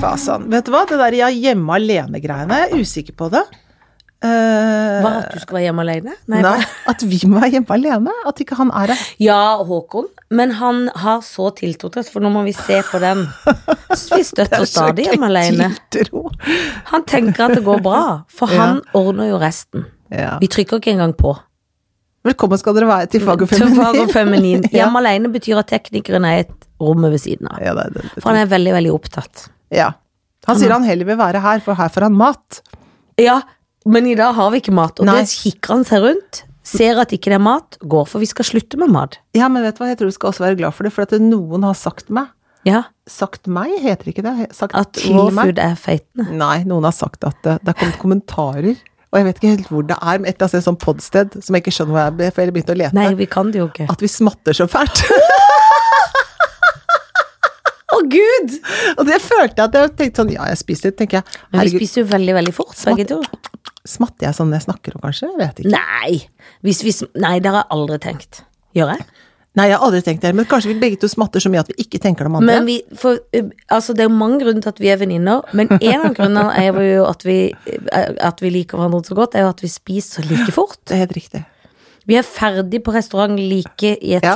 fasan. Vet du hva, det der jeg er hjemme alene-greiene, jeg er usikker på det. Eh, Hva, at du skal være hjemme alene? nei, hva? at vi må være hjemme alene? At ikke han er her? Ja, Håkon, men han har så tiltrukket, for nå må vi se på den. Vi støtter stadig hjemme alene. tiltro. Han tenker at det går bra, for Ja. han ordner jo resten. Ja. Vi trykker ikke engang på. Velkommen skal dere være til Fag og Til fag og feminin. feminin. Ja. Hjemme alene betyr at teknikeren er et rom ved siden av. Ja, det, det, det. For han er veldig, veldig opptatt. ja. Han sier han heller vil være her, for her får han mat. Ja, men i dag har vi ikke mat, og Nei. det kikker han seg rundt. Ser at ikke det er mat, går for vi skal slutte med mat. Ja, men vet du hva, jeg tror du skal også være glad for det, for at noen har sagt meg Ja, Sagt meg, heter ikke det? He- Sagt At til meg? tilbud er feitende. Nei, noen har sagt at det, det har kommet kommentarer. Og jeg vet ikke helt hvor det er, men et eller annet sted, sånn podsted som jeg ikke skjønner hvor jeg ble, for jeg begynte å lete. Nei, vi kan det jo ikke. At vi smatter så fælt. Å, Gud! og det følte jeg at jeg tenkte sånn Ja, jeg spiser litt, tenker jeg. Men vi Herregud, spiser jo veldig, veldig fort, begge to. smatter jeg sånn når jeg snakker om, kanskje? Jeg vet ikke. Nei, hvis vi, sm- nei, det har jeg aldri tenkt. Gjør jeg? Nei, jeg har aldri tenkt det, men kanskje vi begge to smatter så mye at vi ikke tenker det om andre. Men vi, for, eh, altså, det er jo mange grunner til at vi er venninner, men en av grunnene er jo at vi, eh, at vi liker hverandre så godt, er jo at vi spiser like fort. Det er helt riktig. Vi er ferdig på restaurant like i et Ja.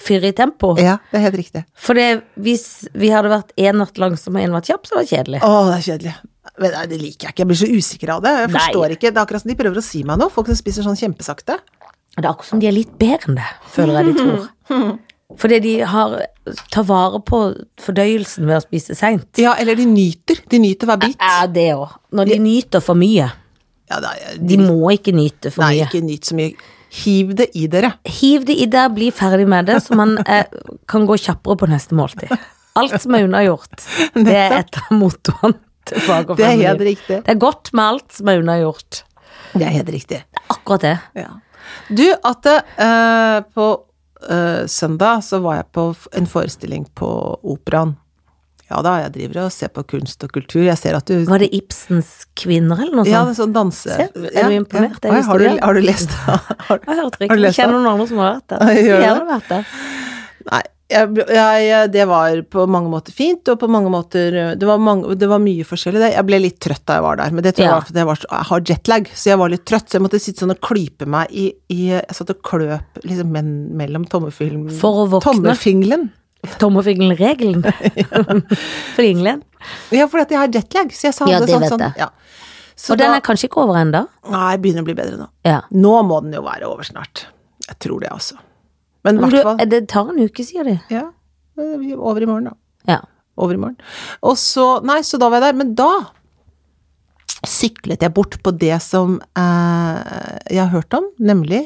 fyrig tempo. Ja, det er helt riktig. For det, hvis vi hadde vært én natt langsom og én natt kjapp, så var det kjedelig. Å, det er kjedelig. Men nei, det liker jeg ikke. Jeg blir så usikker av det. Jeg Nei. forstår ikke. Det er akkurat som de prøver å si meg noe. Folk som spiser sånn kjempesakte. Det er akkurat som de er litt bedre enn det, føler jeg de tror. Fordi de har, tar vare på fordøyelsen ved å spise seint. Ja, eller de nyter. De nyter hver bit. Ja, det òg. Når de nyter for mye. Ja, det er, De må ikke nyte for Nei, mye. ikke nyt så mye. Hiv det i dere. Hiv det i deg, bli ferdig med det, så man eh, kan gå kjappere på neste måltid. Alt som er unnagjort. Det er et av mottoene til fag og Det er helt familie. riktig. Det er godt med alt som er unnagjort. Det er helt riktig. Akkurat det. Ja. Du, at eh, på eh, søndag så var jeg på f- en forestilling på operaen. Ja da, jeg driver og ser på kunst og kultur. Jeg ser at du Var det Ibsens kvinner, eller noe Ja, sånt? det er sånn danse... Se, er Ja, du imponert? Det er Ja. Oi, Har, du- historien. har du lest har, Har Jeg hørte du ikke. Jeg lest kjenner det? noen andre som har vært der. Gjør du Skulle det? gjerne vært der. Nei, jeg, jeg, eh, det var på mange måter fint, og på mange måter eh, Det var, mange, det var mye forskjellig. det. Jeg ble litt trøtt da jeg var der, men det tror jeg Ja. var fordi jeg, var, så- jeg har jetlag, så jeg var litt trøtt. Så jeg måtte sitte sånn og klype meg i, i Jeg satt og kløp liksom men- mellom tommelfingeren For å våkne. Tommelfingelen. Tommelfingeren-regelen. Fingeren. Ja, fordi at jeg har jetlag, så jeg sa Ja, det, det sånn. vet sånn jeg. ja. Så Og den da er kanskje ikke over ennå? Nei, jeg begynner å bli bedre nå. Ja. Nå må den jo være over snart. Jeg tror det, altså. Men i Men du, hvert fall det tar en uke, sier de. Ja, vi er over i morgen, da. Ja. over i morgen. Og så, nei, så da var jeg der, men da syklet jeg bort på det som eh, jeg har hørt om, nemlig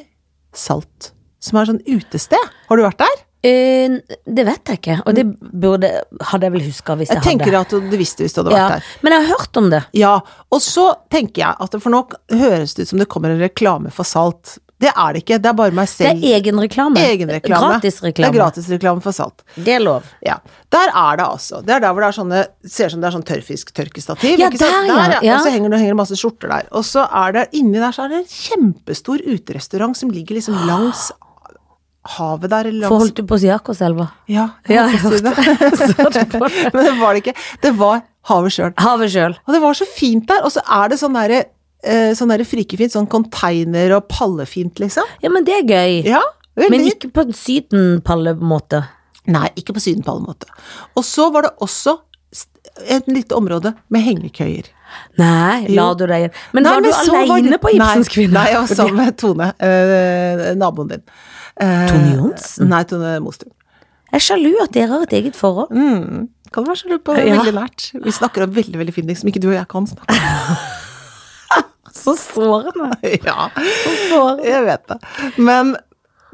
Salt. Som er sånn utested. Har du vært der? Eh, det vet jeg ikke, og det burde, hadde jeg vel huska hvis jeg, Mm. Jeg tenker hadde. at du visste hvis du hadde ja. vært der. Men jeg har hørt om det. Ja, og så tenker jeg at det for nå høres det ut som det kommer en reklame for Salt. Det er det ikke, det er bare meg Det selv. er egen reklame. Egenreklame. Gratis Det reklame. er gratisreklame for Salt. Det er lov. Ja. Der er det altså. Det er der hvor det er sånne Ser ut som det er sånn tørrfisktørkestativ. Ja, ikke sant? der, ja, ja. Og så henger det henger det masse skjorter der. Og så er det inni der så er det en kjempestor uterestaurant som ligger liksom langs havet der. Eller langs For holdt du på å si Akerselva? Ja, Ja, jeg holdt på å si jeg hørte det. Jeg så det på det. Men det var det ikke. Det var havet sjøl. Havet sjøl. Og det var så fint der. Og så er det sånn derre eh, Sånn der frikefint, sånn container og pallefint, liksom. Ja, men det er gøy. Ja, veldig. Men ikke på en Sydenpalle-måte. Nei, ikke på syden på alle måter. Og så var det også st- et lite område med hengekøyer. Nei, la Jo. du deg igjen. Men Nei, var du så var aleine det- på Ibsens nei, kvinne? Nei, altså- jeg var sammen med Tone, eh, naboen din. Eh, Tone Johnsen? Nei, Tone Mostrum. Jeg er sjalu at dere har et eget forhold. Mm. Kan være sjalu på Ja. veldig nært. Vi snakker om veldig veldig fine ting som ikke du og jeg kan snakke om. Så sårende. ja, Så sårende. jeg vet det. Men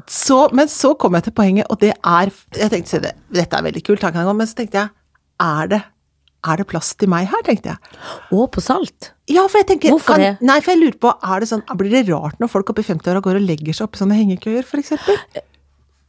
så, men så kom jeg til poenget, og det er Jeg tenkte se det, dette er veldig kult, her kan jeg gå, men så tenkte jeg er det, er det plass til meg her, tenkte jeg. Og på salt. Ja, for jeg tenker Hvorfor kan, det? Nei, for jeg lurer på, er det sånn, blir det rart når folk oppe i 50-åra går og legger seg oppi sånne hengekøyer, for eksempel?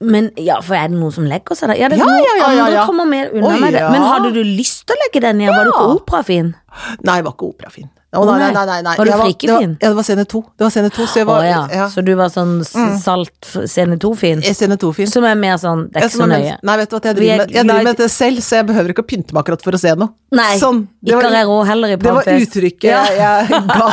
Men ja, for er det noen som legger seg der? Ja, det er Ja, noen ja, ja, ja, andre ja. kommer mer unna Oi, med det. ja. Men hadde du lyst til å legge deg ned? Var du ikke operafin? Nei, det var ikke operafin. Å, nei, nei, Å, nei. nei, nei, nei. Var du Jeg det var, frikefin? ja, det var scene to. Det var scene to, så jeg Å var ja. ja. Mm. Så du var sånn s- salt scene 2-fin? Jeg er Scene to-fin. E Som er mer sånn Det er Jeg ikke som så er nøye. mens- Nei, vet du hva, jeg Vi er driver med, jeg glad i- driver med det selv, så jeg behøver ikke å pynte meg akkurat for å se noe. Nei. Sånn. Det ikke var- har jeg råd heller, i Det var parentes. uttrykket Ja. jeg ga.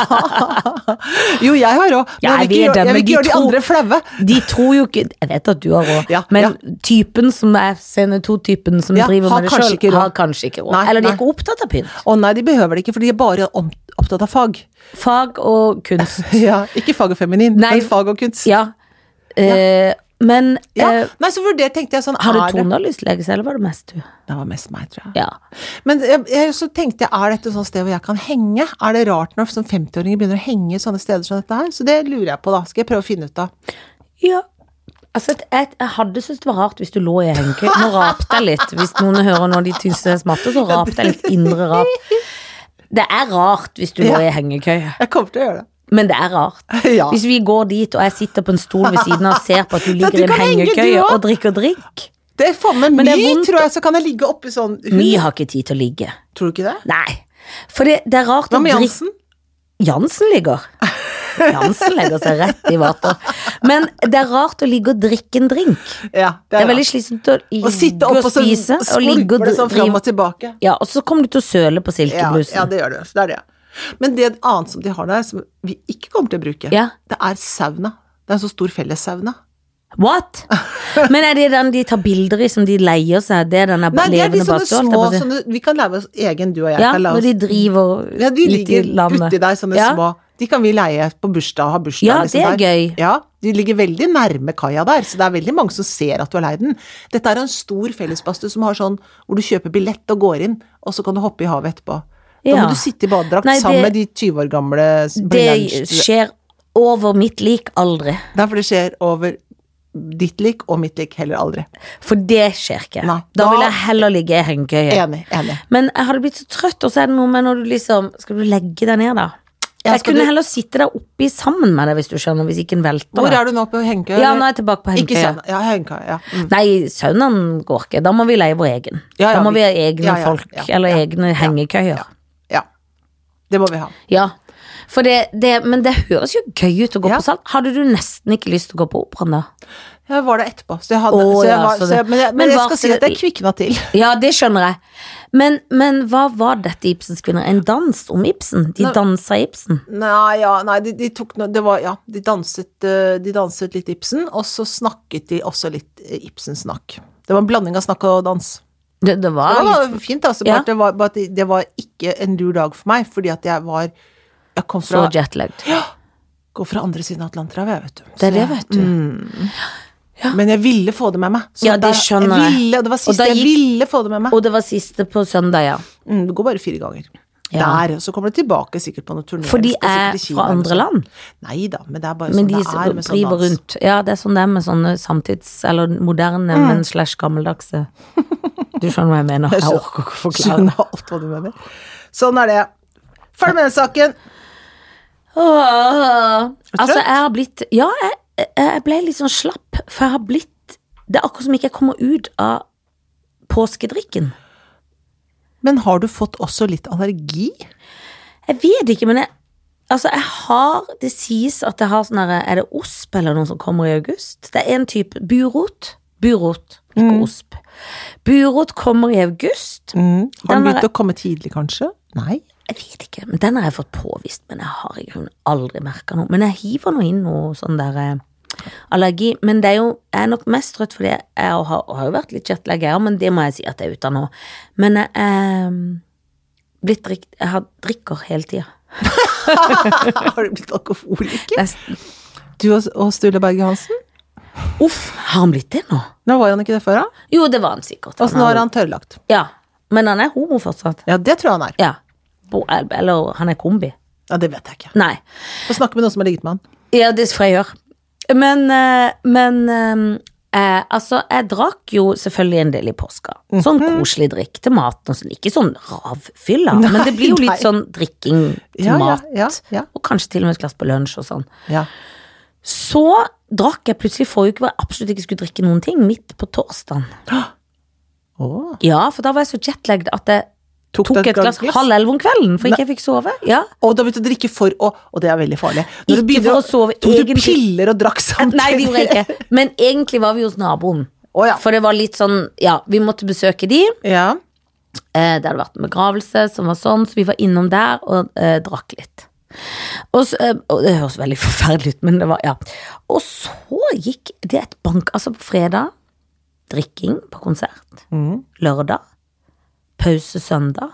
Jo, jeg har råd, men Ja, jeg vil vi ikke er gjøre, dem, jeg vil men ikke de gjøre de to- andre flaue. De tror jo ikke Jeg vet at du har råd, Ja, men ja. typen som er scene 2-typen som Ja, driver har med det kanskje ikke sjøl, råd. har kanskje ikke råd. Nei, Eller de nei. er ikke opptatt av pynt. Å nei, de behøver det ikke, for de er bare om- opptatt av fag. Fag og kunst. Ja, ikke fag og feminin, Nei. men fag og kunst. Ja. Eh, men Ja, eh, Nei, så vurderte tenkte jeg sånn har du er det? toneavlyslege, eller var det mest du? det var mest meg, tror jeg. Ja. Men jeg, jeg, så tenkte jeg, er dette et sånt sted hvor jeg kan henge? Er det rart når som 50-åringer begynner å henge i sånne steder som dette her? Så det lurer jeg på, da. Skal jeg prøve å finne ut av. ja. Altså, et- et- jeg hadde syntes det var rart hvis du lå i hengekøye. Nå rapte jeg litt. Hvis noen hører når de syns det er smatter, så rapte jeg litt indre rap. Det er rart hvis du lå i hengekøye, Jeg kommer til å gjøre det. men det er rart. Ja. Hvis vi går dit, og jeg sitter på en stol ved siden av og ser på at du ligger du i en kan henge, du hengekøye også. og drikker drikk Det er faen meg Men det er mye, vondt- tror jeg, så kan jeg ligge oppi sånn Vi har ikke tid til å ligge. Tror du ikke det? Nei. For det, det er rart Hva med drikk- Jansen? Jansen ligger. Jansen legger seg rett i vater. Men det er rart å ligge og drikke en drink. Ja, Det er veldig slitsomt å ligge Å sitte og opp og så spise og ligge skvulper og det sånn fram drive og tilbake. Ja, og så kommer du til å søle på Ja, silkeblusen. ja, det gjør du. Så det er det. Men det annet som de har der, som vi ikke kommer til å bruke, Ja. det er sauna. Det er en så stor fellessauna. What?! Men er det den de tar bilder i som de leier seg? Det er den der Nei, det er de sånne levende badstue? holdt jeg små på å si. sånne, Vi kan lage oss egen, du og jeg. Ja, kan lage når oss, de driver ja, de litt i ligger landet. uti der, sånne ja. små. De kan vi leie på bursdag og ha bursdag. liksom Ja, det der. er gøy. Ja, De ligger veldig nærme kaia der, så det er veldig mange som ser at du har leid den. Dette er en stor fellesbadstue som har sånn hvor du kjøper billett og går inn, og så kan du hoppe i havet etterpå. Da Ja. må du sitte i badedrakt Nei, det- sammen med de 20 år gamle Det brillantsstudentene. skjer over mitt lik aldri. Derfor det skjer over ditt lik og mitt lik heller aldri. For det skjer ikke. Nei, da, da- vil jeg heller ligge i hengekøye. Enig. enig. Men jeg hadde blitt så trøtt, og så er det noe med når du liksom Skal du legge deg ned, da? Ja, Jeg skal kunne du- heller sitte der oppi sammen med deg, hvis du skjønner, hvis ikke en velter. Hvor da. er du nå på Henkøy? Sånn Ja, nå er jeg tilbake på Ikke hengekøye. sauna. Ja, Henkøy. Ja. Mm. Nei, saunaen går ikke. Da må vi leie vår egen. Ja, ja, da må vi- vi ha egne ja, ja, folk, ja, eller ja, egne hengekøyer. Ja. ja. Det må vi ha. For det, det, men det høres jo gøy ut å gå Ja. på salt. Hadde du nesten ikke lyst til å gå på operaen da? Jeg var der etterpå, så jeg hadde Å, så jeg ja, var, så det- så jeg, Men jeg, men Men jeg var skal si ikke at jeg det- kvikna til. Ja, det skjønner jeg. Men, men hva var dette Ibsens kvinner? En dans om Ibsen? De Nei. dansa Ibsen? Nei, ja, nei de, de tok noe Det var Ja, de danset, eh, de danset litt Ibsen, og så snakket de også litt eh, Ibsen-snakk. Det var en blanding av snakk og dans. Det, det var Det var fint, altså. Ja. Bare, at det var, bare at det- det var ikke en lur dag for meg, fordi at jeg var Jeg kom fra, så jetlagd. går fra andre siden av Atlanterhavet, jeg, vet du. Det Så er jeg- det, mm. vet du. Men jeg ville få det med meg. Så Ja, det der- skjønner jeg. jeg. Ville, og det var da siste jeg gikk- ville få det med meg. Og det var siste på søndag, ja. Mm, det går bare fire ganger. Ja. Der, og så kommer det tilbake sikkert på noen turnerer. For de skal sikkert er i Kina eller fra andre sånn. land. Nei da, men det er bare Men sånn de det er med sånn driver dans. rundt. Ja, det er sånn det er med sånne samtids... Eller moderne, Mm. men slash gammeldagse. Du skjønner hva jeg mener. Jeg skjønner. orker ikke forklare. Skjønner alt hva du mener. Sånn er det. Ferdig med den saken. Åh. du trøtt? Altså, jeg har blitt Ja, jeg, jeg ble litt sånn slapp, for jeg har blitt Det er akkurat som ikke jeg kommer ut av påskedrikken. Men har du fått også litt allergi? Jeg vet ikke, men jeg Altså, jeg har Det sies at jeg har sånn herre Er det osp eller noe som kommer i august? Det er en type Burot. Burot, ikke Mm. osp. Burot kommer i august. Har Mm. Den den har begynt å komme tidlig, kanskje? Nei. Jeg vet ikke, men den har jeg fått påvist, men jeg har i grunnen aldri merka noe. Men jeg hiver nå inn noe sånn der eh, allergi. Men det er jo, jeg er nok mest trøtt fordi jeg har, har jo vært litt jetlag, jeg òg, men det må jeg si at jeg er ute av nå. Men jeg er blitt drikt, Jeg har drikker hele tida. har du blitt alkoholiker? Du og, og Sturle Berge Hansen? Uff, har han blitt det nå? Nå var han ikke det før, da. Jo, det var han sikkert. Og så nå er han tørrlagt. Ja, Men han er homo fortsatt. Ja, det tror jeg han er. Ja. Bo, eller han er kombi. Ja, Det vet jeg ikke. Nei. Få snakke med noen som har ligget med han. Ja, det skal jeg gjøre. Men, eh, men eh, eh, altså, jeg drakk jo selvfølgelig en del i påska. Mhm. Sånn koselig drikk til maten og sånn. Ikke sånn ravfylla, men det blir jo Nei, litt nei. sånn drikking til Ja, ja, mat. ja, ja. Og kanskje til og med et glass på lunsj og sånn. Ja. Så drakk jeg plutselig forrige uke hvor jeg absolutt ikke skulle drikke noen ting, midt på torsdagen. Åh. Ja, for da var jeg så jetlagd at jeg Ah. Tok, Tok et glass halv elleve om kvelden, for ikke jeg fikk sove. Ja. Og da begynte du å drikke for å Og det er veldig farlig. Når du Ikke begynner for å sove, Tok du egentlig- piller og drakk samtidig? Nei, det gjorde jeg ikke. Men egentlig var vi hos naboen. Å, ja. For det var litt sånn, ja, vi måtte besøke de. Ja. Eh, det hadde vært en begravelse som var sånn, så vi var innom der og eh, drakk litt. Og, så, eh, og det høres veldig forferdelig ut, men det var, ja. Og så gikk det et bank, altså på fredag, drikking på konsert, Mhm. lørdag, pause søndag,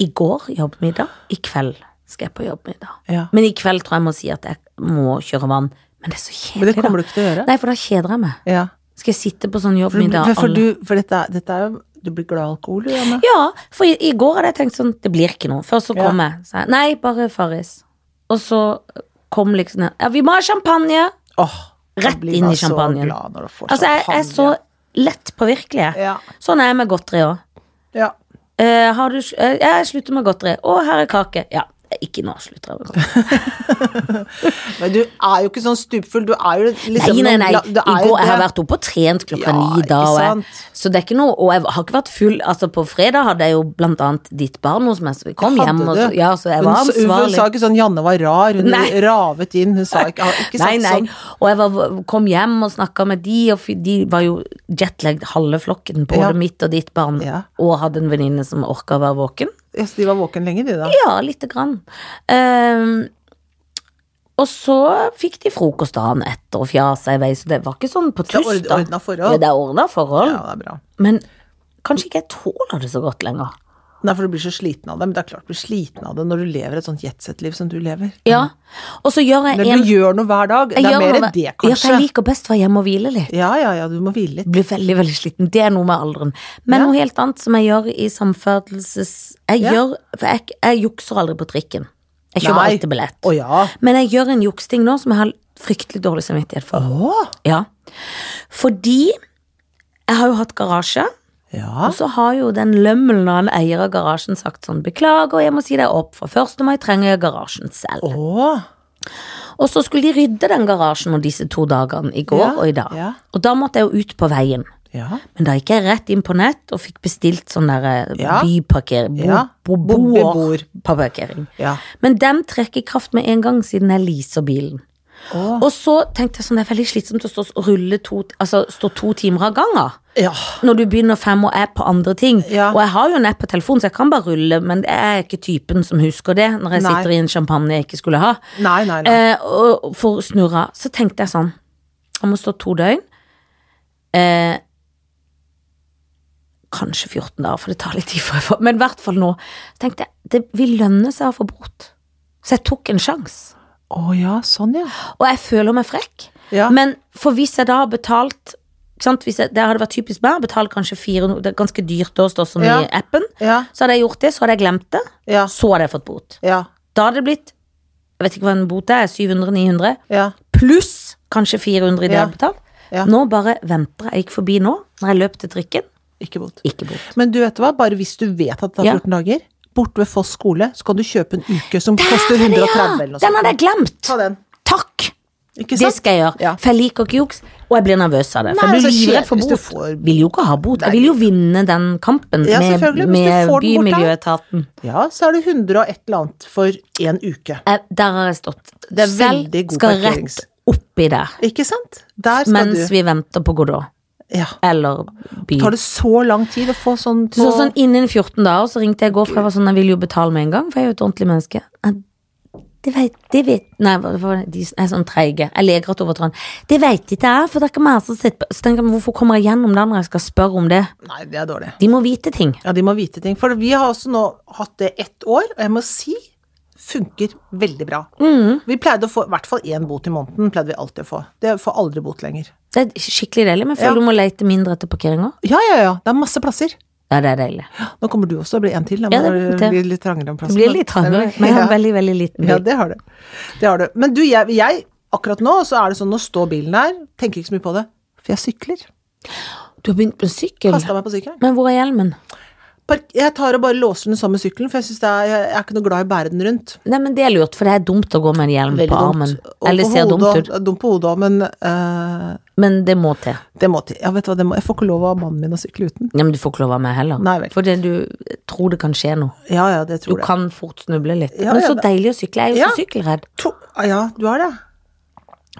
i går jobbmiddag, i kveld skal jeg på jobbmiddag. ja. Men i kveld tror jeg må si at jeg må kjøre vann, men det er så Men kjedelig det kommer da. du ikke til å gjøre. Nei, for da kjeder jeg meg. Ja. Skal jeg sitte på sånn For, jobbmiddag? for, for, alle- du, for dette, er- dette er jo Du blir glad i alkohol, du, Janne. Ja, for i, i går hadde jeg tenkt sånn Det blir ikke noe. Først så Ja. kom jeg. Så jeg nei, bare Farris. Og så kom liksom den, Ja, vi må ha champagne! Åh, Rett blir inn man i champagnen. Så glad når du får Altså, jeg, jeg er så champagne. lett påvirkelig. jeg. Ja. Sånn er jeg med godteri òg. ja. Eh, har du sl- eh, jeg slutter med godteri. Å, her er kake. Ja, ikke nå slutter jeg med godteri. Men du er jo ikke sånn stupfull. Du er jo liksom Nei, nei, nei. Du er I jo går, jeg har det. vært oppe og trent klokka Ja, ni da. ikke Og jeg, sant. så det er ikke noe Og jeg har ikke vært full. Altså, på fredag hadde jeg jo blant annet ditt barn hos meg, så vi kom Hadde hjem, og så, du? ja, så jeg var hun, sa- hun ansvarlig. sa ikke sånn 'Janne var rar', hun Nei. ravet inn. Hun sa ikke, har ikke Nei, sagt nei. sånn. Og jeg var, kom hjem og snakka med de, og fy- de var jo jetlagd halve flokken, både Ja. mitt og ditt barn, Ja. og hadde en venninne som orka å være våken. Ja, så de var våken lenge, de da. Ja, lite grann. Ehm, og så fikk de frokost dagen etter og fjasa i vei, så det var ikke sånn på Så tuss, det er da. ordna forhold. Det er ordna forhold. Ja, det er bra. Men kanskje ikke jeg tåler det så godt lenger. Nei, for du blir så sliten av det. Men det er klart du blir sliten av det når du lever et sånt jetset-liv som du lever. Ja. Og så gjør jeg Når en du gjør noe hver dag. jeg det gjør er mer noe- det, Ja, for kanskje. jeg liker best å være hjemme og hvile litt. Ja, ja, ja, du må hvile litt. blir veldig, veldig sliten. Det er noe med alderen. Men Ja. noe helt annet som jeg gjør i samferdelses... Jeg Ja. gjør For jeg, jeg jukser aldri på trikken. Jeg kjøper Nei. alltid billett. Å ja. Men jeg gjør en juksting nå som jeg har fryktelig dårlig samvittighet for. Å, Ja. Fordi jeg har jo hatt garasje, ja. og så har jo den lømmelen av en eier av garasjen sagt sånn Beklager, jeg må si deg opp, for 1. mai trenger jeg garasjen selv. Å, Og så skulle de rydde den garasjen og disse to dagene, i går Ja, og i dag. ja. Og da måtte jeg jo ut på veien. ja. Men da gikk jeg rett inn på nett og fikk bestilt sånn der Ja. byparkering. Bo, Ja. bo, Beboer. boerparkering. Ja. Men dem trekker i kraft med en gang siden jeg leaser bilen. Å. Og så tenkte jeg sånn, det er veldig slitsomt å stå, og rulle to, altså, stå to timer av gangen. ja. Når du begynner fem og er på andre ting. Ja. Og jeg har jo en app på telefonen, så jeg kan bare rulle, men jeg er ikke typen som husker det når jeg Nei. sitter i en champagne jeg ikke skulle ha. Nei, nei, nei. Eh, og for snurra. Så tenkte jeg sånn Jeg må stå to døgn. Eh, kanskje 14 dager, for det tar litt tid før jeg får Men i hvert fall nå. Så tenkte jeg det vil lønne seg å få bot. Så jeg tok en sjanse. Å ja, sånn ja. Og jeg føler meg frekk. Ja. Men for hvis jeg da har betalt ikke sant? Hvis jeg, Det hadde vært typisk meg å betale kanskje 400 Det er ganske dyrt å stå som Ja. i appen. ja, Så hadde jeg gjort det, så hadde jeg glemt det. ja, Så hadde jeg fått bot. ja, Da hadde det blitt Jeg vet ikke hva en bot er. 700-900 ja. pluss kanskje 400 i det Ja. jeg har betalt. Ja. Nå bare venter jeg. Jeg gikk forbi nå, når jeg løp til trikken. Ikke bot. Ikke bot. Men du vet hva, bare hvis du vet at det Ja. er 14 dager, bort ved Foss skole, så kan du kjøpe en uke som koster Der er det, 130 ja! eller noe sånt. Den hadde jeg glemt. Ta den. Takk! Ikke Det sant? skal jeg gjøre. Ja. For jeg liker ikke juks, og jeg blir nervøs av det. For Nei, jeg blir altså, livredd for hvis du bot. får- Vil jo ikke ha bot. Jeg vil jo vinne den kampen Ja, med, selvfølgelig, hvis du med får den bort, da. Bymiljøetaten. Ja, så er det 100 og et eller annet for én uke. Eh, Der har jeg stått. Det er Selv veldig god skal parkerings- rett oppi der Ikke sant? Der skal du. mens vi venter på Godot. Ja. Eller by. Tar det så lang tid å få sånn på Så sånn Innen 14 dager så ringte jeg i går, for jeg var sånn, jeg ville jo betale med en gang, for jeg er jo et ordentlig menneske. Nei, Det vet, det vet Nei, hva- hva- de er sånn treige. Jeg leker at overtråden. Det vet ikke jeg, for det er ikke mer som sitter på Så tenker jeg, men hvorfor kommer jeg gjennom det når jeg skal spørre om det? Nei, det er dårlig. De må vite ting. Ja, de må vite ting. For vi har også nå hatt det ett år, og jeg må si funker veldig bra. Mm. Vi pleide å få i hvert fall én bot i måneden. pleide vi alltid å få. Det får aldri bot lenger. Det er skikkelig deilig, men jeg føler Ja. du må lete mindre etter parkeringer. Ja, ja, ja. Det er masse plasser. Ja, det er deilig. Nå kommer du også å bli en til. Da, Ja, men det- det blir litt trangere om Det plassen. blir litt trangere, men jeg har ja. en veldig, veldig liten ja, bil. det har du. Det har du. Men du, jeg, jeg akkurat nå så er det sånn, nå står bilen der, tenker ikke så mye på det, for jeg sykler. Du har begynt med sykkel? Kasta meg på sykkelen. Men hvor er hjelmen? På park jeg tar og bare låser den sammen med sykkelen, for jeg, synes det er, jeg er ikke noe glad i å bære den rundt. Nei, men det er lurt, for det er dumt å gå med en hjelm på armen. Og Eller på ser dumt hodet ut, også. Dumt på hodet òg, men eh, men det må til. det må til. Ja, vet du hva, det må, jeg får ikke lov av mannen min å sykle uten. Ja, men du får ikke lov av meg heller. Nei vel. Fordi du tror det kan skje noe. Ja ja, det Du tror jeg. kan fort snuble litt. Ja, men ja, så det- deilig å sykle. Jeg er jo Ja. så sykkelredd. To ja, du er det?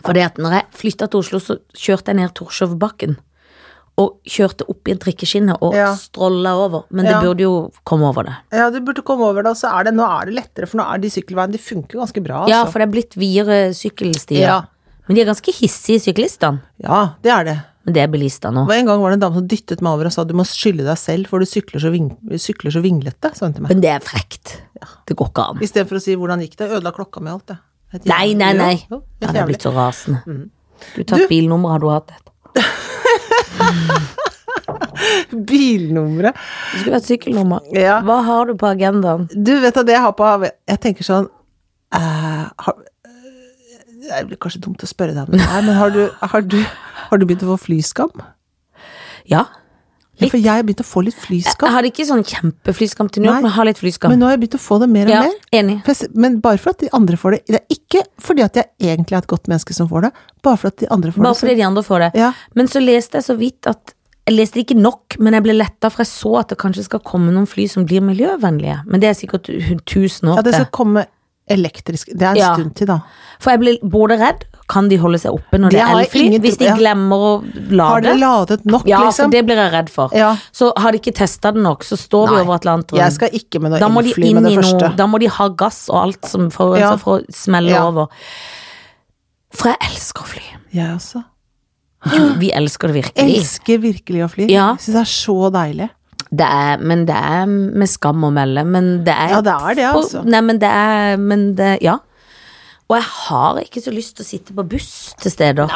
For det at når jeg flytta til Oslo, så kjørte jeg ned Torshovbakken. Og kjørte opp i en trikkeskinne og Ja. stråla over. Men det Ja. burde jo komme over det. Ja, du burde komme over det, og så er det Nå er det lettere, for nå er de sykkelveiene De funker jo ganske bra, altså. Ja, for det er blitt videre sykkelstier. Ja. Men de er ganske hissige, syklistene. Ja, det er det. Men det er bilister nå. Og En gang var det en dame som dyttet meg over og sa du må skylde deg selv, for du sykler så, ving sykler så vinglete, sa hun til meg. Men det er frekt. Det går ikke an. Istedenfor å si hvordan gikk det, ødela klokka mi og alt, det. Helt Nei, jævlig. nei, nei. Jo, jo, Ja, helt det er jævlig. Mm. blitt så rasende. Du tatt bilnummer, har du hatt et? Bilnummeret. Det skulle vært sykkelnummer. Ja. Hva har du på agendaen? Du vet at det jeg har på Jeg tenker sånn eh, har, eh, Det blir kanskje dumt å spørre deg om det her, men har du, har du, har du begynt å få flyskam? Ja. Ja, for jeg har begynt å få litt Jeg flyskam. hadde ikke sånn kjempeflyskam til New Nei. York, men jeg har litt flyskam. Men nå har jeg begynt å få det mer og Ja, mer. enig. For jeg s- Men bare for at de andre får det. Det er ikke fordi at jeg egentlig er et godt menneske som får det, bare for at de andre får Bare det. så- fordi de andre får det. Ja. Men så leste jeg så vidt at Jeg leste ikke nok, men jeg ble letta, for jeg så at det kanskje skal komme noen fly som blir miljøvennlige. Men det er sikkert hu- tusen år Ja, det til. skal komme elektrisk Det er en Ja. stund til, da. For jeg ble både redd Kan de holde seg oppe Det når det, har er jeg elfly? ingen tro- Hvis de ja. glemmer å Har lade? dere ladet nok, ja, liksom? for det blir jeg redd for. Ja. Så har de ikke testa det nok, så står vi Nei. over Atlanteren. Jeg skal ikke med noe da må de elfly inn med det i noe, første. da må de ha gass og alt som for, Ja. for å smelle Ja. over. For jeg elsker å fly. Jeg også. Du, vi elsker det virkelig. Elsker virkelig å fly. Ja. Jeg Syns det er så deilig. Det er, men det er med skam å melde. Men det er Ja, det er det, altså. På, nei, men det er men det, Ja. Og jeg har ikke så lyst til å sitte på buss til steder.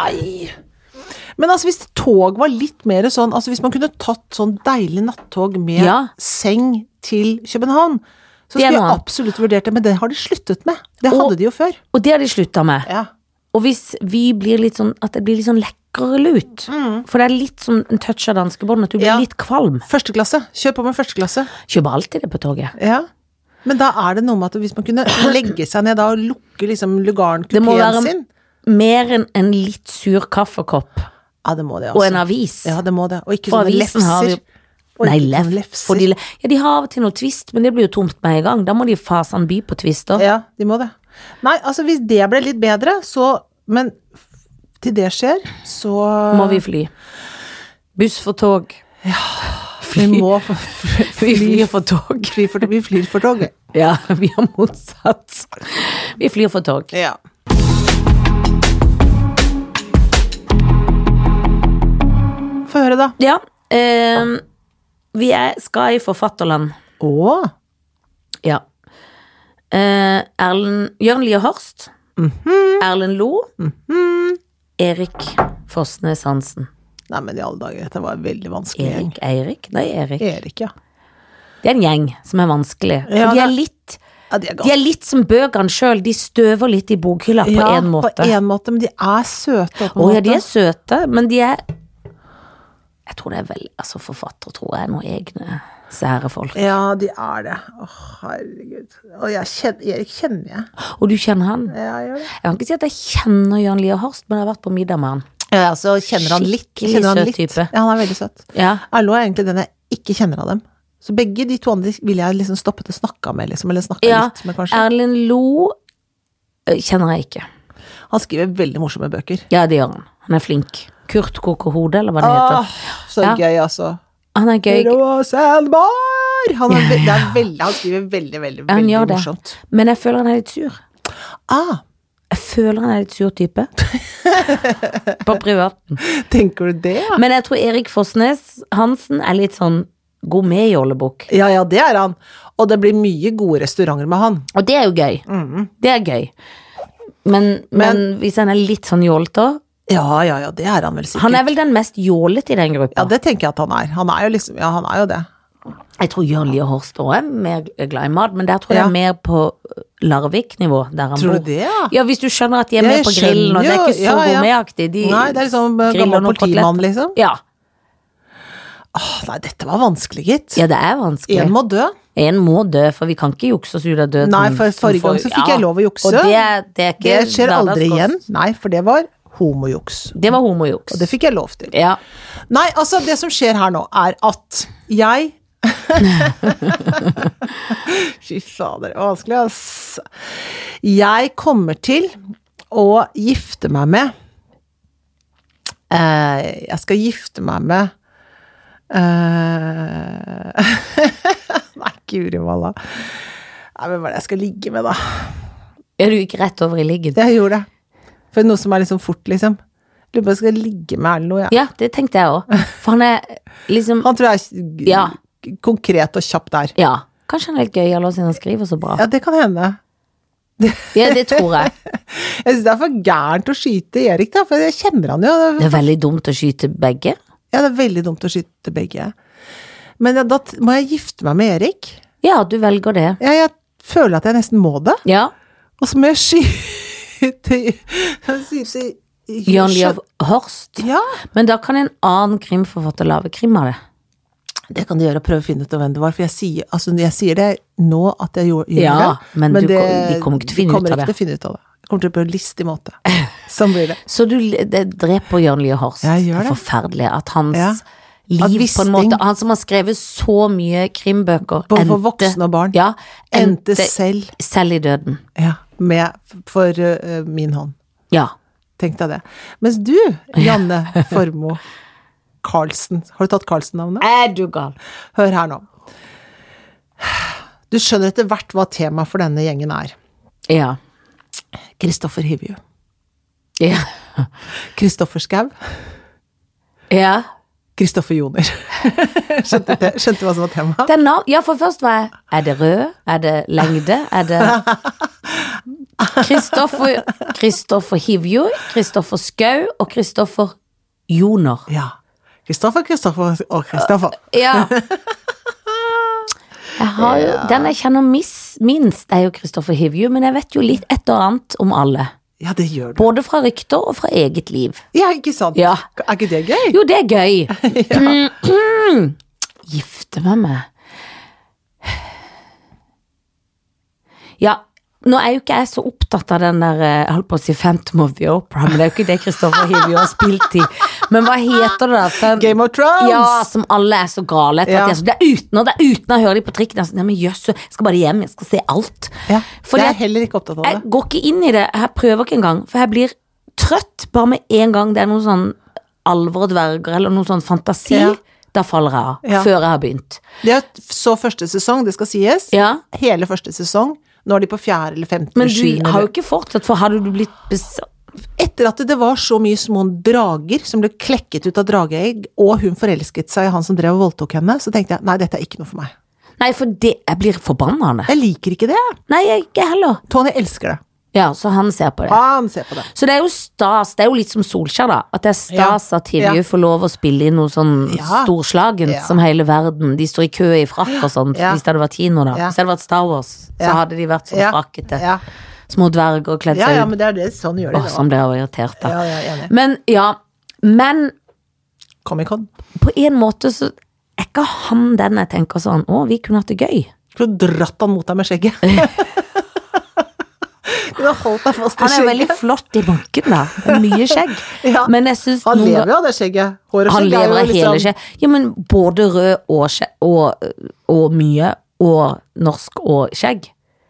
Men altså, hvis tog var litt mer sånn Altså, hvis man kunne tatt sånn deilig nattog med Ja. seng til København, så Det er skulle jeg noe annet. absolutt vurdert det, men det har de sluttet med. Det Og- hadde de jo før. Og det har de slutta med. Ja. Og hvis vi blir litt sånn At det blir litt sånn lekrere lut For det er litt som en touch av danskebåten, at du blir Mm. Ja. litt kvalm. Første klasse. Kjør på med første klasse. Kjøper alltid det på toget. Ja. Men da er det noe med at hvis man kunne legge seg ned da og lukke liksom Det må lugaren-kupeen være sin mer enn en litt sur kaffekopp Ja, det må det, og altså. en avis. Ja, det må det. Og ikke For sånne avisen har lefser. vi- Og Nei, ikke lef, sånne for de, le- ja, de har av og til noe twist, men det blir jo tomt med en gang. Da må de fasen by på twist òg. Ja, de må det. Nei, altså hvis det ble litt bedre, så Men f- til det skjer, så Må vi fly. Buss for tog. fly. Vi må f- f- Vi fly. flyr for tog. fly for, vi flyr for toget. Ja, vi har motsatt. Vi flyr for tog. Ja. Få høre, da. Ja, eh, vi er, skal i forfatterland. Å, Ja. Eh, Erlend Jørn Lier Horst. Mhm. Erlend Lo. Erik Fosnes Hansen. Nei, men i alle dager, dette var en veldig vanskelig gjeng. Erik, Eirik? Nei, Erik. Erik, ja. Det er en gjeng som er vanskelig. For Ja, de, er det- litt, ja de er de er litt som bøkene sjøl. De støver litt i bokhylla på ja, én måte. På en måte, men de er søte. Å ja, de er søte, men de er Jeg tror det er vel Altså, forfattere tror jeg er noen egne sære folk. Ja, de er det. Å, herregud. Og jeg kjenner, Erik kjenner jeg. Og du kjenner han? Ja, jeg gjør det. Jeg kan ikke si at jeg kjenner Jan Lier Horst, men jeg har vært på middag med han. Ja, så kjenner han litt. Skikkelig kjenner han søt litt. type. Ja, han er veldig søt. Ja. Erlo er egentlig den jeg ikke kjenner av dem. Så begge de to andre ville jeg liksom stoppet og snakka med, liksom. Eller snakka ja litt med, kanskje. Erlend Lo eh, kjenner jeg ikke. Han skriver veldig morsomme bøker. Ja, det gjør han. Han er flink. Kurt koker hodet, eller hva det heter. Åh, så Ja. gøy, altså. Han er gøy. Rosenborg! Han, er ve det er veldig, han skriver veldig, veldig, Han veldig gjør det. morsomt. Men jeg føler han er litt sur. Ah, Jeg føler han er litt sur type. på privaten. tenker du det? Men jeg tror Erik Fosnes Hansen er litt sånn god med i ollebukk. Ja, ja, det er han. Og det blir mye gode restauranter med han. Og det er jo gøy. Mm. Det er gøy. Men, men, hvis han er litt sånn jålete òg Ja, ja, ja, det er han vel sikkert. Han er vel den mest jålete i den gruppa. Ja, det tenker jeg at han er. Han er jo liksom, ja, han er jo det. Jeg tror Jørn Lier Horst òg er mer glad i mat, men der tror jeg Ja. det er mer på Larvik-nivå, der han Tror bor. du det, ja? Ja, hvis du skjønner at de er Ja, med jeg på grillen, og det er skjønner ikke jo, så ja, ja. gourmetaktig. De Nei, det er liksom eh, griller gammel noen politimann, koteletter. liksom. Ja. Åh, nei, dette var vanskelig, gitt. Ja, det er vanskelig. Én må dø. En må dø, for vi kan ikke jukse oss ut av døden. Nei, for som forrige gang folk- så fikk jeg lov å jukse. Og det, er- det, er ikke Det skjer aldri hverdagskost. igjen. Nei, for det var homojuks. Det var homojuks. Og det fikk jeg lov til. Ja. Nei, altså, det som skjer her nå, er at jeg Fy fader, det var vanskelig, ass. Jeg kommer til å gifte meg med eh, Jeg skal gifte meg med eh, Nei, guri malla. Nei, Hvem var det jeg skal ligge med, da? ja, du gikk rett over i liggen. Jeg gjorde det. For noe som er liksom fort, liksom. Lurer på om jeg skal ligge med Erlend nå, jeg. Ja, det tenkte jeg òg. For han er liksom Han tror jeg er g- Ja. k- konkret og kjapp der. Ja. Kanskje han er litt gøyal også, siden han skriver så bra. Ja, det kan hende. Ja, det tror jeg. Jeg syns det er for gærent å skyte Erik, da, for jeg kjenner han jo. Det Det er veldig dumt å skyte begge. er- Ja, det er veldig dumt å skyte begge. Men ja, da t- må jeg gifte meg med Erik. Ja, du velger det. Ja, jeg føler at jeg nesten må det. Ja. Og så må jeg skyte jeg skyte i- Jørn Lier Horst. Ja, Men da kan en annen krimforfatter lage krim av det. det kan du gjøre, og prøve å finne ut hvem det var. For jeg sier, altså, jeg sier det nå at jeg gjorde, gjorde Ja, det, men du kom- de kommer ikke til å finne ut kommer av ikke det. til å finne ut av det. Jeg kommer til å bli på en listig måte. Sånn blir det. Så du le- det dreper Jørn Lier Horst. Jeg gjør er det. forferdelig at hans Ja. At liv på Wisting- en måte Han som har skrevet så mye krimbøker, Både for voksne og barn. Ja, Endte selv selv i døden. Ja, med, for eh, min hånd. Ja. Tenk deg det. Mens du, Janne Formoe Carlsen Har du tatt Carlsen-navnet? Er du gal? Hør her nå. Du skjønner etter hvert hva temaet for denne gjengen er. Ja. Kristoffer Hivju. Ja. Kristoffer Skau. ja. Kristoffer Joner. skjønte, det, skjønte hva som var temaet? Den nav ja, for først var jeg Er det rød? Er det lengde? Er det Kristoffer Kristoffer Hivju, Kristoffer Skau og Kristoffer Joner. Ja. Kristoffer, Kristoffer og Kristoffer. Ja. Jeg har jo, Den jeg kjenner mis, minst, er jo Kristoffer Hivju, men jeg vet jo litt et og annet om alle. Ja, det gjør du. Både fra rykter og fra eget liv. Ja, ikke sant? Ja. Er ikke det gøy? Jo, det er gøy. Gifte meg med Ja, nå er jo ikke jeg så opptatt av den der eh, Jeg holdt på å si Phantom of the Opera, men det er jo ikke det Kristoffer Hivju har spilt i. Men hva heter det da? Fem- Game of Thrones! ja, som alle er så gale etter. Ja. At de er så, det er uten, og det er uten å høre dem på trikken. Jeg er sånn, Nei, men jøss, jeg skal bare hjem, jeg skal se alt. Ja, Fordi det er at- jeg heller ikke opptatt av det. jeg går ikke inn i det, jeg prøver ikke engang, for jeg blir trøtt bare med en gang det er noe sånn alvor og dverger eller noe sånn fantasi. Ja. Da faller jeg av, Ja. før jeg har begynt. Det er så første sesong, det skal sies. Ja. Hele første sesong. Nå er de på fjerde eller femte Men eller du sjuende. har jo ikke fortsatt, for hadde du blitt bes... Etter at det var så mye små drager som ble klekket ut av drageegg, og hun forelsket seg i han som drev og voldtok henne, så tenkte jeg nei, dette er ikke noe for meg. Nei, for det, jeg blir forbanna av det. Jeg liker ikke det. Nei, jeg ikke heller. Tony elsker det. Ja, så han ser på det. Han ser på det. Så det er jo stas, det er jo litt som Solskjær, da. At det er stas Ja. at Hivju Ja. får lov å spille i noe sånn Ja. storslagent Ja. som hele verden. De står i kø i frakk og sånt, Ja. hvis det hadde vært kino, Ja. da. Hvis det hadde vært Star Wars, så Ja. hadde de vært sånn Ja. frakkete. Ja. Små dverger kledd ja, seg ja, ut. men det er det. Sånn gjør de Åh, det. som det var irritert, da. Ja, ja, jeg er enig. Men ja. Men Comic-Con. på en måte så er ikke han den jeg tenker sånn Å, vi kunne hatt det gøy. Skulle dratt han mot deg med skjegget. Kunne holdt deg fast i Han er jo veldig skjegget. flott i banken, da. Det er Mye skjegg. Ja. Men jeg syns Han noen ganger- lever jo av det skjegget. Hår og skjegg Han er jo lever av hele liksom- skje. Ja, men både rød og, skje, og, og mye, og norsk og skjegg.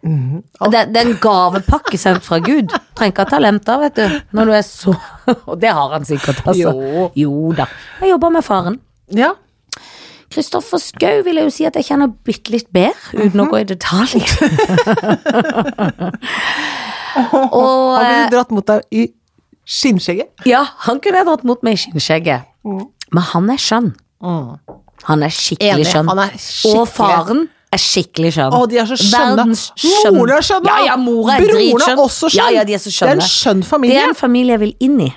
Mhm. Det, det er en gavepakke sendt fra Gud. Trenger ikke ha talenter, vet du. Når du er så Og det har han sikkert, altså. Jo. da. Jeg jobber med faren. Ja. Kristoffer Schou vil jeg jo si at jeg kjenner bitte litt bedre, uten Mhm. å gå i detalj. og Han eh, ville dratt mot deg i skinnskjegget. Ja, han kunne jeg dratt mot meg i skinnskjegget. Mm. Men han er skjønn. Han er skikkelig Enig, skjønn. han er skikkelig- Og faren er skikkelig skjønn. Å, de er så skjønne. Verdens skjønn. Moren er skjønn, Ja, ja, mora er Broren dritskjønn. er også skjønn. Ja, ja, de er så Det er en skjønn familie. Det er en familie jeg vil inn i.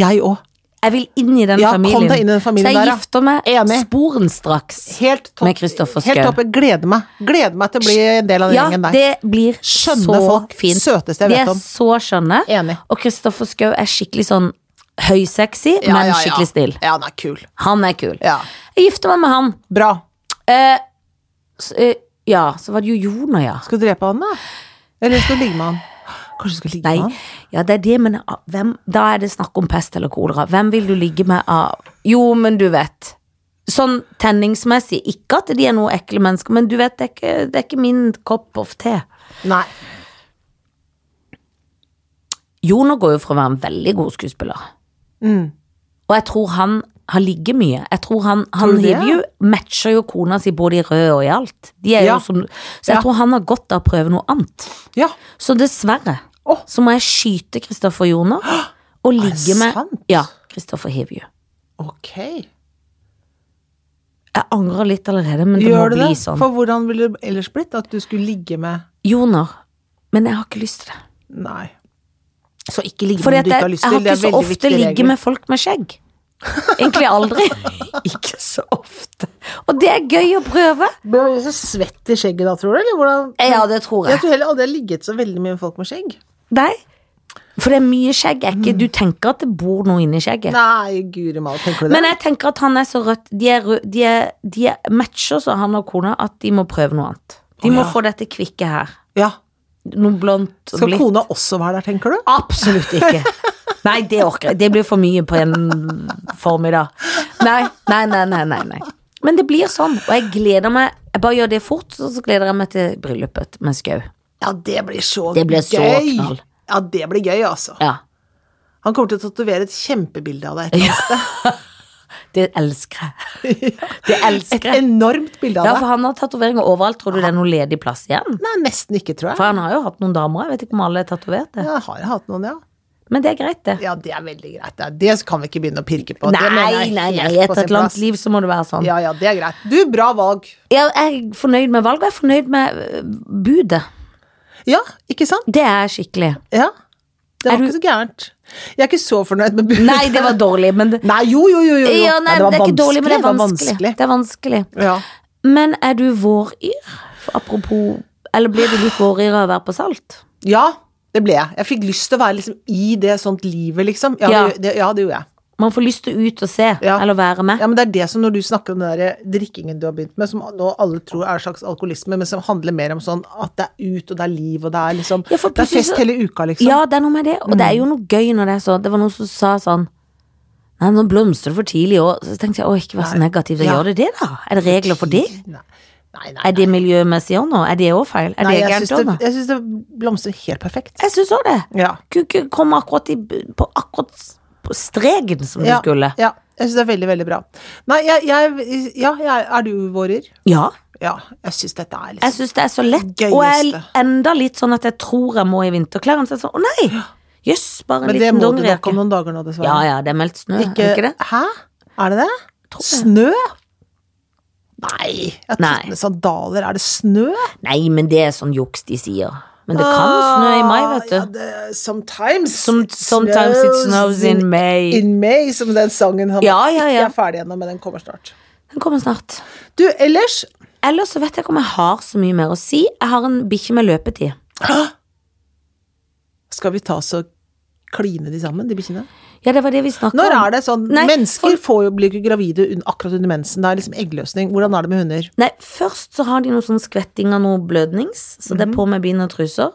Jeg òg. Jeg vil inn i den Ja, kom familien. deg inn i den familien Så jeg der, ja. gifter meg Enig. sporenstraks. Helt topp. Med Kristoffer Helt Schau. topp. Jeg gleder meg. Gleder meg til å bli en del av den Ja, gjengen der. det blir Skjønne så folk. fint. Søteste jeg vet De om. er så skjønne. Enig. Og Kristoffer Schou er skikkelig sånn høysexy, Ja, ja, men ja. skikkelig snill. Ja, han er kul. Han er kul. Ja. Jeg gifter meg med han. Bra. Eh, s- eh, ja, så var det jo Joner, ja. Skal du drepe han, da? Eller skal du ligge med han? Kanskje du skal ligge Nei, med han? ja, det er det, men ah, hvem, da er det snakk om pest eller kolera. Hvem vil du ligge med av Jo, men du vet. Sånn tenningsmessig. Ikke at de er noe ekle mennesker, men du vet, det er ikke, det er ikke min kopp of te. Nei. Joner går jo for å være en veldig god skuespiller. Mm. Og jeg tror han har ligget mye. Jeg tror han, han Tror du det? hiver jo, matcher jo kona si både i rød og i alt. De er Ja. jo som, så jeg Ja. tror han har godt av å prøve noe annet. Ja. Så dessverre Åh. så må jeg skyte Kristoffer Joner og ligge med sant? Ja, Kristoffer Hivju. Ok. Jeg angrer litt allerede, men det Gjør må du bli det? sånn. For hvordan ville det ellers blitt? At du skulle ligge med Joner. Men jeg har ikke lyst til det. Nei. Så ikke ligge Fordi med at den du ikke jeg, har lyst jeg til. har Det ikke er så veldig ofte viktig ligget regel. med folk med skjegg. Egentlig aldri. ikke så ofte. Og det er gøy å prøve. Blir du så svett i skjegget da, tror du? Eller hvordan? Ja, det tror Jeg jeg. tror heller aldri jeg har ligget så veldig mye med folk med skjegg. Nei. For det er mye skjegg. er Ikke, du tenker at det bor noe inni skjegget. Nei, guri malla, tenker du det? Men jeg tenker at han er så rødt De, er, rød- de, er, de er matcher så han og kona at de må prøve noe annet. De Å, må ja. få dette kvikke her. ja. Noe blondt og Skal blitt. kona også være der, tenker du? Absolutt ikke. Nei, det orker jeg. Det blir for mye på en formiddag. Nei, nei, nei, nei, nei, nei. Men det blir sånn, og jeg gleder meg. Jeg bare gjør det fort, så så gleder jeg meg til bryllupet med Skau. Ja, det blir så Det blir så gøy. knall. Ja, det blir gøy, altså. Ja, Han kommer til å tatovere et kjempebilde av deg et eller annet sted. det elsker jeg. Det Et elsker jeg. enormt bilde Ja, av for deg. han har tatoveringer overalt. Tror du det er noen ledig plass igjen? Nei, nesten ikke, tror jeg. For han har jo hatt noen damer, jeg vet ikke om alle er tatoverte. Ja, jeg har hatt noen, ja. Men det er greit, det. Ja, det er veldig greit. Det, det kan vi ikke begynne å pirke på. det mener Nei, jeg nei, nei, helt på etter sin et langt plass. liv så må det være sånn. Ja, ja, det er greit. Du, bra valg. Jeg er fornøyd med valget, jeg er fornøyd med øh, budet. Ja, ikke sant? Det er skikkelig. Ja. Det Er var du- ikke så gærent. Jeg er ikke så fornøyd med budet. Nei, det var dårlig, men det, Nei, jo, jo, jo. jo. jo. ja, nei, var det er ikke dårlig, men det er vanskelig. vanskelig. Det er vanskelig. Det var vanskelig. Ja. Men er du våryr? For Apropos Eller blir du litt våryr av å være på salt? ja, det ble jeg. Jeg fikk lyst til å være liksom i det sånt livet, liksom. Ja, Ja. Det, det, ja, det gjorde jeg. Man får lyst til å ut og se, Ja. eller være med. Ja, men det er det som når du snakker om den der drikkingen du har begynt med, som nå alle tror er en slags alkoholisme, men som handler mer om sånn at det er ut, og det er liv, og det er liksom Ja, for Det er plutselig fest så- hele uka, liksom. Ja, det er noe med det, og det Mm. er jo noe gøy når det er sånn. Det var noen som sa sånn Nei, nå blomstrer det for tidlig òg. Så tenkte jeg å, ikke vær så negativ. Da Ja. gjør det det, da. Er det regler for det? Nei, nei, nei. Er det miljømessig òg nå? Er det òg feil? Er nei det jeg gærent syns òg nå? det, jeg synes det blomstrer helt perfekt. Jeg syns òg det. Ja. Kunne ikke komme akkurat i, på akkurat s- på streken som Ja, du skulle. ja. Jeg syns det er veldig, veldig bra. Nei, jeg, jeg Ja, jeg, er du vårer? Ja. Ja. Jeg syns dette er Jeg liksom syns det er så lett, Gøyeste. og jeg er enda litt sånn at jeg tror jeg må i vinterklærne. Så jeg er sånn, å nei! Jøss, bare en Men det liten må du nok dongerijakke. om noen dager nå, dessverre. sånn Ja ja, det er meldt snø, Ikke, er det ikke det? Hæ? Er det det? Snø? Nei. Jeg har Nei. tatt med sandaler. Er det snø? Nei, men det er sånn juks de sier. Men det kan snø i mai, vet Ah, du. Ja, det, sometimes. Som, it sometimes it snows in May. in May, som den sangen han Ja, ja, ikke ja. er ferdig ennå, men den kommer snart. Den kommer snart. Du, ellers Ellers så vet jeg ikke om jeg har så mye mer å si. Jeg har en bikkje med løpetid. Skal vi ta oss og kline de sammen, de bikkjene? Ja, det var det vi snakket om. Når er det sånn Nei, Mennesker for- får jo blir ikke gravide un- akkurat under mensen. Det er liksom eggløsning. Hvordan er det med hunder? Nei, først så har de noe sånn skvetting og noe blødnings, så det er på med bind og truser.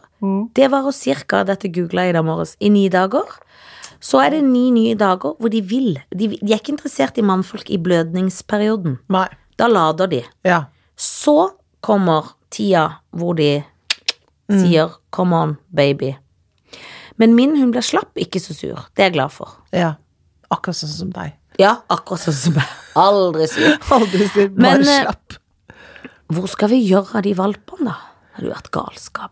Det varer cirka, dette googlet jeg i dag morges, i ni dager. Så er det ni nye dager hvor de vil. De, de er ikke interessert i mannfolk i blødningsperioden. Nei. Da lader de. Ja. Så kommer tida hvor de sier 'come on, baby'. Men min hun ble slapp, ikke så sur. Det er jeg glad for. ja. Akkurat sånn som deg. Ja, akkurat sånn som jeg. Aldri sur. Aldri sier bare Men, eh, slapp. Hvor skal vi gjøre av de valpene, da? Det hadde jo vært galskap.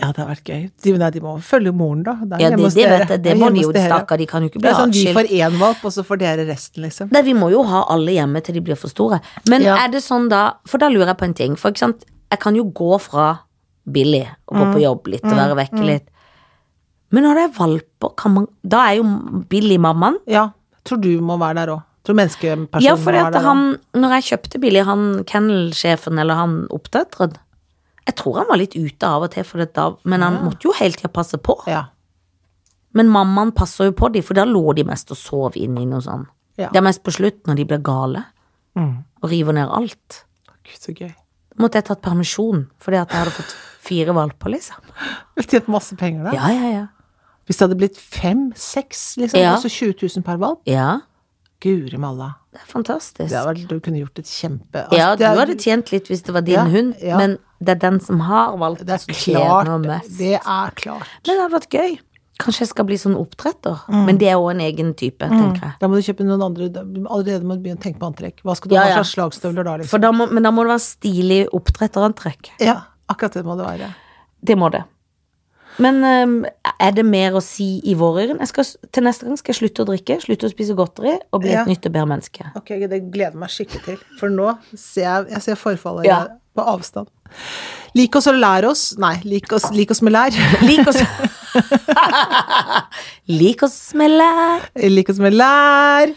Ja, det har vært gøy. De, nei, de må følge moren, da. Det er Ja, hjemme det, hos det dere. vet jeg, er det må hjemme de jo hos dere. stakke, de kan jo ikke Det bli er sånn vi atskilt. får én valp, og så får dere resten, liksom. Nei, vi må jo ha alle hjemme til de blir for store. Men Ja. er det sånn da, for da lurer jeg på en ting, for ikke sant, jeg kan jo gå fra Billy og gå Mm. på jobb litt og være vekke litt. Men når det er valper, kan man, da er jo Billy mammaen. Ja. Tror du må være der òg. Tror menneskepersonen Ja, må for være at der òg. han, når jeg kjøpte Billy, han kennelsjefen eller han oppdretteren, jeg tror han var litt ute av og til, for det da, men han måtte jo hele tida passe på. Ja. Men mammaen passer jo på de, for da lå de mest og sov inne i noe sånn. Ja. Mm. Det er mest på slutt, når de blir gale og river ned alt. Gud, så gøy. Da måtte jeg tatt permisjon, fordi at jeg hadde fått fire valper, liksom. Ville tjent masse penger da. Ja, ja, ja. Hvis det hadde blitt fem-seks, liksom, Ja. og så 20 000 per valg. Ja, Guri malla. det er fantastisk. Det hadde vært, du kunne gjort et kjempe ja, Altså, du det er- hadde tjent litt hvis det var din Ja, hund, ja. men det er den som har valgt Det er som tjener klart. mest. Det er klart. Men det hadde vært gøy. Kanskje jeg skal bli sånn oppdretter. Mm. Men det er òg en egen type, tenker jeg. Da må du kjøpe noen andre da- Allerede må du begynne å tenke på antrekk. Hva skal du Ja, ha ja. slags slagstøvler da, liksom? For da må, men da må det være stilig oppdretterantrekk. Ja, akkurat det må det være. Det må det. Men ehm, er det mer å si i vårøren? Jeg skal s- Til neste gang skal jeg slutte å drikke, slutte å spise godteri og bli Ja. et nytt og bedre menneske. Ok, Det gleder jeg meg skikkelig til. For nå ser jeg, jeg ser forfallet i Ja. deg på avstand. Lik oss og lær oss. Nei, lik oss, lik oss med lær. Lik oss Lik oss med lær. lik oss med lær.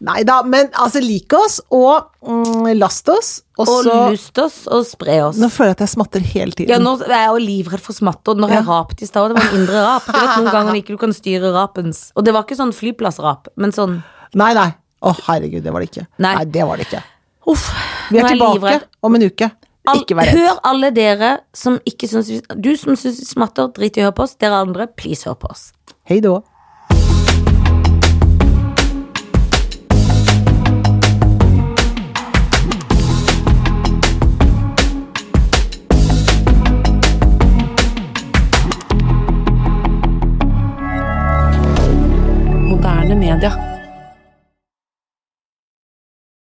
Nei da, men altså lik oss og mm, last oss. Og, Og så lust oss og spre oss. Nå føler jeg at jeg smatter hele Ja, tiden. nå er jeg jo livredd for smatte, og når jeg rapet i stad, og det var en indre rap. Du vet noen ganger ikke du kan styre rapens Og det var ikke sånn flyplassrap, men sånn Nei, nei. Å, herregud, det var det ikke. Nei. nei, det var det ikke. uff. Vi nå er tilbake livredd. om en uke. Al- Ikke vær redd. Hør alle dere som ikke syns vi Du som syns vi smatter, drit i å høre på oss. Dere andre, please hør på oss. Hei då. Moderne media.